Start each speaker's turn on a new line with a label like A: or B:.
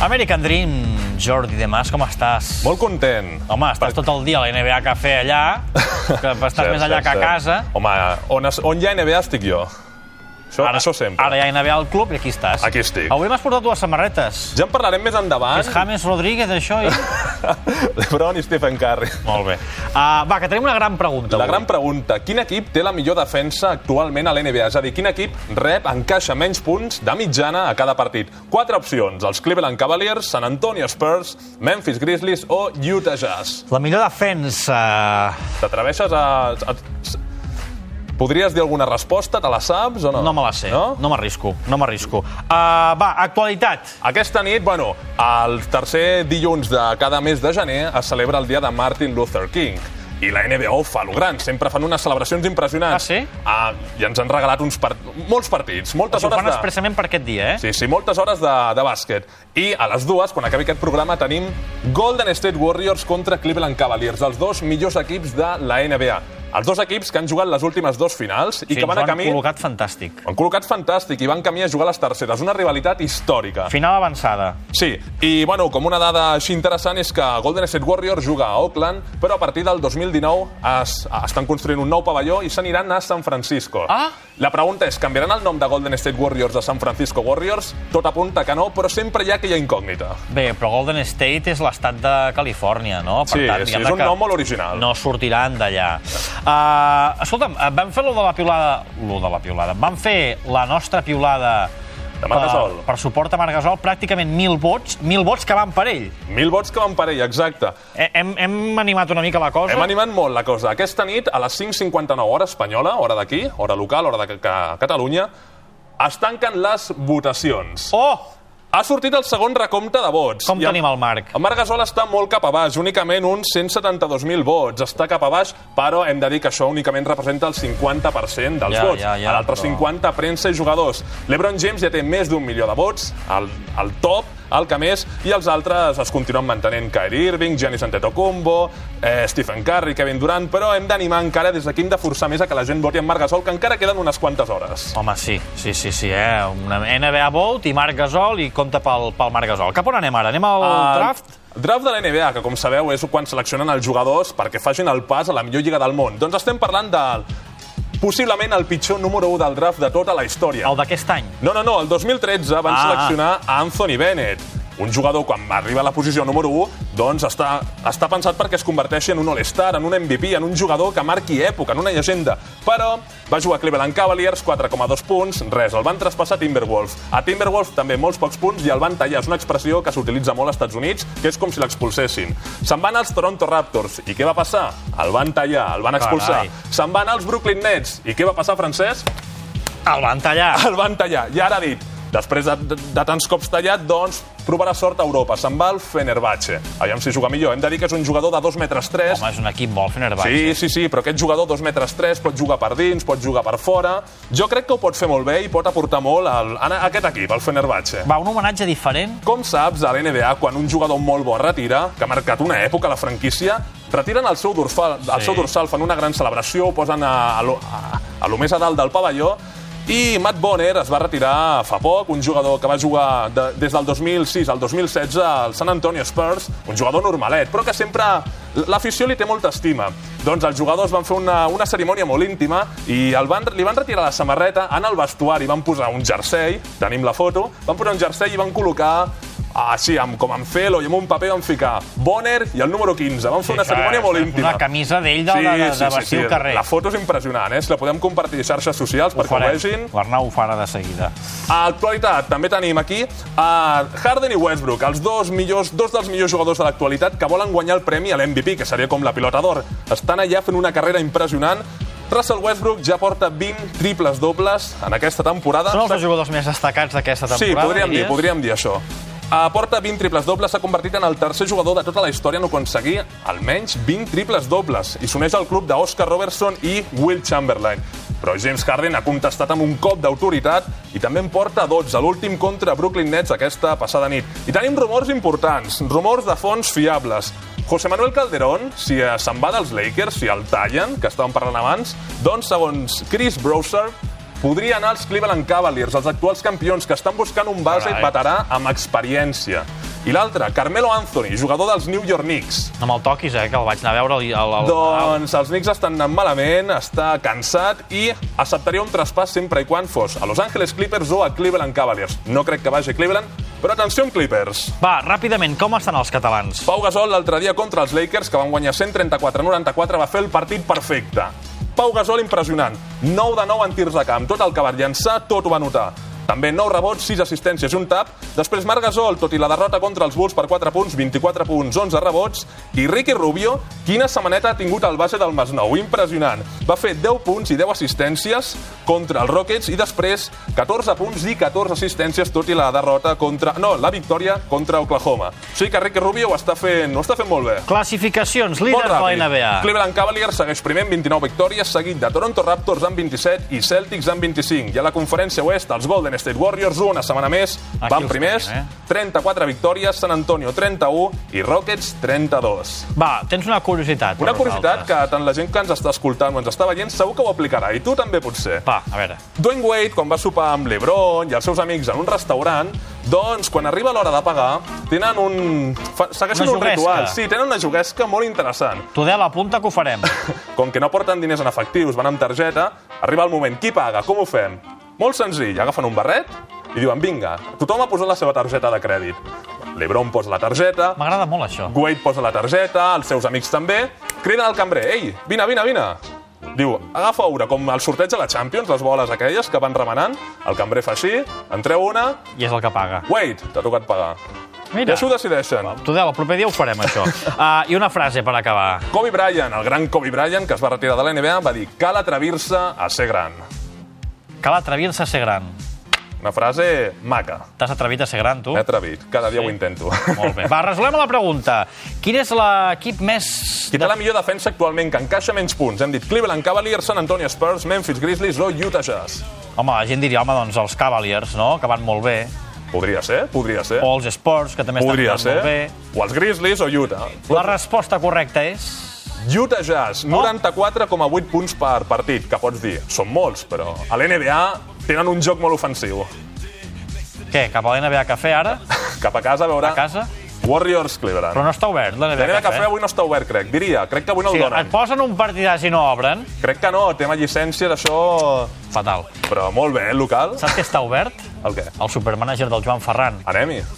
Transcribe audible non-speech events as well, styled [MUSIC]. A: American Dream, Jordi de Mas, com estàs?
B: Molt content.
A: Home, estàs tot el dia a la NBA Café allà,
B: [LAUGHS]
A: que estàs
B: Cert,
A: més allà
B: cert,
A: que a
B: cert.
A: casa.
B: Home, on, es- on hi ha NBA estic jo? Això, ara, això sempre.
A: Ara ja hi anava al club i aquí estàs.
B: Aquí estic.
A: Avui m'has portat dues samarretes.
B: Ja en parlarem més endavant.
A: És James Rodríguez, això, i...
B: [LAUGHS] LeBron i Stephen Curry.
A: Molt bé. Uh, va, que tenim una gran pregunta
B: La
A: avui.
B: gran pregunta, quin equip té la millor defensa actualment a l'NBA? És a dir, quin equip rep, encaixa menys punts de mitjana a cada partit? Quatre opcions, els Cleveland Cavaliers, San Antonio Spurs, Memphis Grizzlies o Utah Jazz.
A: La millor defensa... eh,
B: T'atreveixes a... a... Podries dir alguna resposta? Te la saps o no?
A: No me la sé.
B: No?
A: No m'arrisco, no m'arrisco. Uh, va, actualitat.
B: Aquesta nit, bueno, el tercer dilluns de cada mes de gener es celebra el dia de Martin Luther King. I la NBA ho fa lo gran, sempre fan unes celebracions impressionants.
A: Ah, sí?
B: Ah, I ens han regalat uns part... molts partits, moltes
A: Ho
B: hores
A: fan
B: de...
A: expressament per aquest dia, eh?
B: Sí, sí, moltes hores de, de bàsquet. I a les dues, quan acabi aquest programa, tenim Golden State Warriors contra Cleveland Cavaliers, els dos millors equips de la NBA. Els dos equips que han jugat les últimes dues finals i
A: Sí,
B: que van
A: ens ho
B: a
A: han
B: camí...
A: col·locat fantàstic.
B: Han col·locat fantàstic i van camí a jugar a les terceres. Una rivalitat històrica.
A: Final avançada.
B: Sí, i bueno, com una dada així interessant és que Golden State Warriors juga a Oakland, però a partir del 2019 es, estan construint un nou pavelló i s'aniran a San Francisco.
A: Ah.
B: La pregunta és, canviaran el nom de Golden State Warriors a San Francisco Warriors? Tot apunta que no, però sempre hi ha aquella incògnita.
A: Bé, però Golden State és l'estat de Califòrnia, no?
B: Sí, sí,
A: diguem-ne
B: és un
A: que
B: nom molt original.
A: No sortiran d'allà. Uh, escolta'm, eh, vam fer lo de la piulada... Lo de la piulada. Vam fer la nostra piulada...
B: De Marc Gasol.
A: Per, per suport a Marc Gasol, pràcticament 1.000 vots, 1.000 vots que van per ell.
B: Mil vots que van per ell, exacte.
A: Eh, Hem, hem animat una mica la cosa.
B: Hem animat molt la cosa. Aquesta nit, a les 5.59 hora espanyola, hora d'aquí, hora local, hora de ca- ca- Catalunya, es tanquen les votacions.
A: Oh!
B: Ha sortit el segon recompte de vots.
A: Com
B: I
A: tenim el Marc?
B: El Marc Gasol està molt cap a baix, únicament uns 172.000 vots. Està cap a baix, però hem de dir que això únicament representa el 50% dels
A: Ja,
B: vots.
A: ja, ja,
B: L'altre
A: però-
B: 50, premsa i jugadors. L'Ebron James ja té més d'un milió de vots, el, el top, el que més, i els altres es continuen mantenent Kyrie Irving, Giannis Antetokounmpo, eh, Stephen Curry, Kevin Durant, però hem d'animar encara, des d'aquí hem de forçar més a que la gent voti en Marc Gasol, que encara queden unes quantes hores.
A: Home, sí, sí, sí, sí, eh? Una NBA Vote i Marc Gasol i compte pel, pel Marc Gasol. Cap on anem ara? Anem al
B: El
A: draft?
B: Ah, Draft de la NBA, que com sabeu és quan seleccionen els jugadors perquè facin el pas a la millor lliga del món. Doncs estem parlant del possiblement el pitjor número 1 del draft de tota la història.
A: El d'aquest any?
B: No, no, no, el 2013 van
A: Ah.
B: seleccionar a Anthony Bennett, un jugador quan arriba a la posició número 1, doncs està, està pensat perquè es converteixi en un All-Star, en un MVP, en un jugador que marqui època, en una llegenda. Però va jugar a Cleveland Cavaliers, 4,2 punts, res, el van traspassar a Timberwolves. A Timberwolves també molts pocs punts i el van tallar. És una expressió que s'utilitza molt als Estats Units, que és com si l'expulsessin. Se'n van als Toronto Raptors. I què va passar? El van tallar, el van expulsar.
A: Carai.
B: Se'n van als Brooklyn Nets. I què va passar, Francesc?
A: El van
B: [LAUGHS]
A: tallar.
B: el van tallar. I ara ha dit, després de, de, de tants cops tallat, doncs provarà sort a Europa. Se'n va al Fenerbahce. Aviam si juga millor. Hem de dir que és un jugador de 2 metres 3.
A: Home, és un equip molt Fenerbahçe.
B: Sí, sí, sí, però aquest jugador, 2 metres 3, pot jugar per dins, pot jugar per fora... Jo crec que ho pot fer molt bé i pot aportar molt al, a aquest equip, al Fenerbahce.
A: Va, un homenatge diferent?
B: Com saps, a l'NBA, quan un jugador molt bo es retira, que ha marcat una època a la franquícia, retiren el seu dorsal, el
A: Sí.
B: seu dorsal fan una gran celebració, ho posen a, a, lo, a, a lo més a dalt del pavelló, i Matt Bonner es va retirar fa poc, un jugador que va jugar de, des del 2006 al 2016 al San Antonio Spurs, un jugador normalet, però que sempre l'afició li té molta estima. Doncs els jugadors van fer una, una cerimònia molt íntima i el van, li van retirar la samarreta, en el vestuari van posar un jersei, tenim la foto, van posar un jersei i van col·locar ah, així, amb, com amb Felo i amb un paper van ficar Bonner i el número 15. Van fer una cerimònia molt íntima.
A: Una camisa d'ell de, de, de, de vestir al carrer.
B: La foto és impressionant, eh? Si la podem compartir a xarxes socials perquè ho vegin.
A: L'Arnau ho farà de seguida.
B: A actualitat, també tenim aquí a Harden i Westbrook, els dos, millors, dos dels millors jugadors de l'actualitat que volen guanyar el premi a l'MVP, que seria com la pilota d'or. Estan allà fent una carrera impressionant. Russell Westbrook ja porta 20 triples dobles en aquesta temporada.
A: Són els dos jugadors més destacats d'aquesta temporada,
B: Sí, podríem dir,
A: diries?
B: podríem dir això. Aporta 20 triples dobles, s'ha convertit en el tercer jugador de tota la història en aconseguir almenys 20 triples dobles i s'uneix al club d'Oscar Robertson i Will Chamberlain. Però James Harden ha contestat amb un cop d'autoritat i també en porta 12, l'últim contra Brooklyn Nets aquesta passada nit. I tenim rumors importants, rumors de fons fiables. José Manuel Calderón, si eh, se'n va dels Lakers, si el tallen, que estàvem parlant abans, doncs, segons Chris Broussard, Podria anar als Cleveland Cavaliers, els actuals campions, que estan buscant un base
A: Carai.
B: veterà amb experiència. I l'altre, Carmelo Anthony, jugador dels New York Knicks.
A: No me'l toquis, eh, que el vaig anar a veure. El, el, el...
B: Doncs els Knicks estan anant malament, està cansat i acceptaria un traspàs sempre i quan fos a Los Angeles Clippers o a Cleveland Cavaliers. No crec que vagi a Cleveland, però atenció amb Clippers.
A: Va, ràpidament, com estan els catalans?
B: Pau Gasol l'altre dia contra els Lakers, que van guanyar 134-94, va fer el partit perfecte. Pau Gasol impressionant. 9 de 9 en tirs de camp, tot el que va llançar, tot ho va notar. També 9 rebots, 6 assistències i un tap. Després Marc Gasol, tot i la derrota contra els Bulls per 4 punts, 24 punts, 11 rebots. I Ricky Rubio, quina setmaneta ha tingut el base del Masnou. Impressionant. Va fer 10 punts i 10 assistències contra els Rockets i després 14 punts i 14 assistències, tot i la derrota contra... No, la victòria contra Oklahoma. O sigui que Ricky Rubio ho està fent, ho està fent molt bé.
A: Classificacions, líders de la NBA.
B: Cleveland Cavaliers segueix primer amb 29 victòries, seguit de Toronto Raptors amb 27 i Celtics amb 25. I a la conferència oest, els Golden State Warriors, una setmana més,
A: Aquí
B: van
A: els
B: primers,
A: tenien,
B: 34 victòries, San Antonio 31 i Rockets 32.
A: Va, tens una curiositat. per
B: Una curiositat
A: nosaltres.
B: que tant la gent que ens està escoltant o ens està veient segur que ho aplicarà, i tu també potser.
A: Va, a veure.
B: Dwayne Wade, quan va sopar amb l'Ebron i els seus amics en un restaurant, doncs, quan arriba l'hora de pagar, tenen un... fa- Segueixen
A: Una
B: un ritual.
A: juguesca.
B: Sí, tenen una juguesca molt interessant.
A: Tudel, apunta que ho farem.
B: Com que no porten diners en efectius, van amb targeta, arriba el moment, qui paga, com ho fem? Molt senzill, agafen un barret i diuen, vinga, tothom ha posat la seva targeta de crèdit. L'Ebron posa la targeta,
A: M'agrada molt això.
B: Wade posa la targeta, els seus amics també, criden al cambrer, ei, vine, vine, vine. Diu, agafa una, com el sorteig a la Champions, les boles aquelles que van remenant, el cambrer fa així, en treu una,
A: I és el que paga.
B: Wade, t'ha tocat pagar. I
A: Mira,
B: això ho decideixen.
A: Tudel, el proper dia ho farem,
B: [LAUGHS]
A: això. Uh, I una frase per acabar.
B: Kobe Bryant, el gran Kobe Bryant, que es va retirar de la NBA, va dir cal atrevir-se a ser gran.
A: Cal atrevir-se a ser gran.
B: Una frase maca.
A: T'has atrevit a ser gran, tu?
B: M'he atrevit. Cada dia
A: Sí.
B: ho
A: [LAUGHS]
B: intento.
A: Molt bé. Va, resolem la pregunta. Quin és l'equip més...
B: Qui té la millor defensa actualment que encaixa menys punts? Hem dit Cleveland Cavaliers, San Antonio Spurs, Memphis Grizzlies o Utah Jazz.
A: Home, la gent diria, home, doncs els Cavaliers, no?, que van molt bé.
B: Podria ser, podria ser.
A: O els Sports, que també
B: podria
A: estan
B: ser.
A: jugant
B: O els Grizzlies o Utah.
A: molt bé. La resposta correcta és...
B: Utah Jazz,
A: Oh.
B: 94,8 punts per partit, que pots dir. Són molts, però a l'NBA tenen un joc molt ofensiu.
A: Què, cap a l'NBA Cafè, ara?
B: Cap a casa veurà
A: A casa?
B: Warriors Cleveland.
A: Però no està obert, l'NBA
B: L'NBA
A: Cafè.
B: Cafè avui no està obert, crec. Diria, crec que avui no
A: Sí,
B: el
A: et
B: donen.
A: posen un partidàs i no obren?
B: Crec que no, tema llicència d'això...
A: Fatal.
B: Però molt bé, eh, el local.
A: Saps què està obert?
B: El què?
A: El supermanager del Joan Ferran.
B: Anem-hi.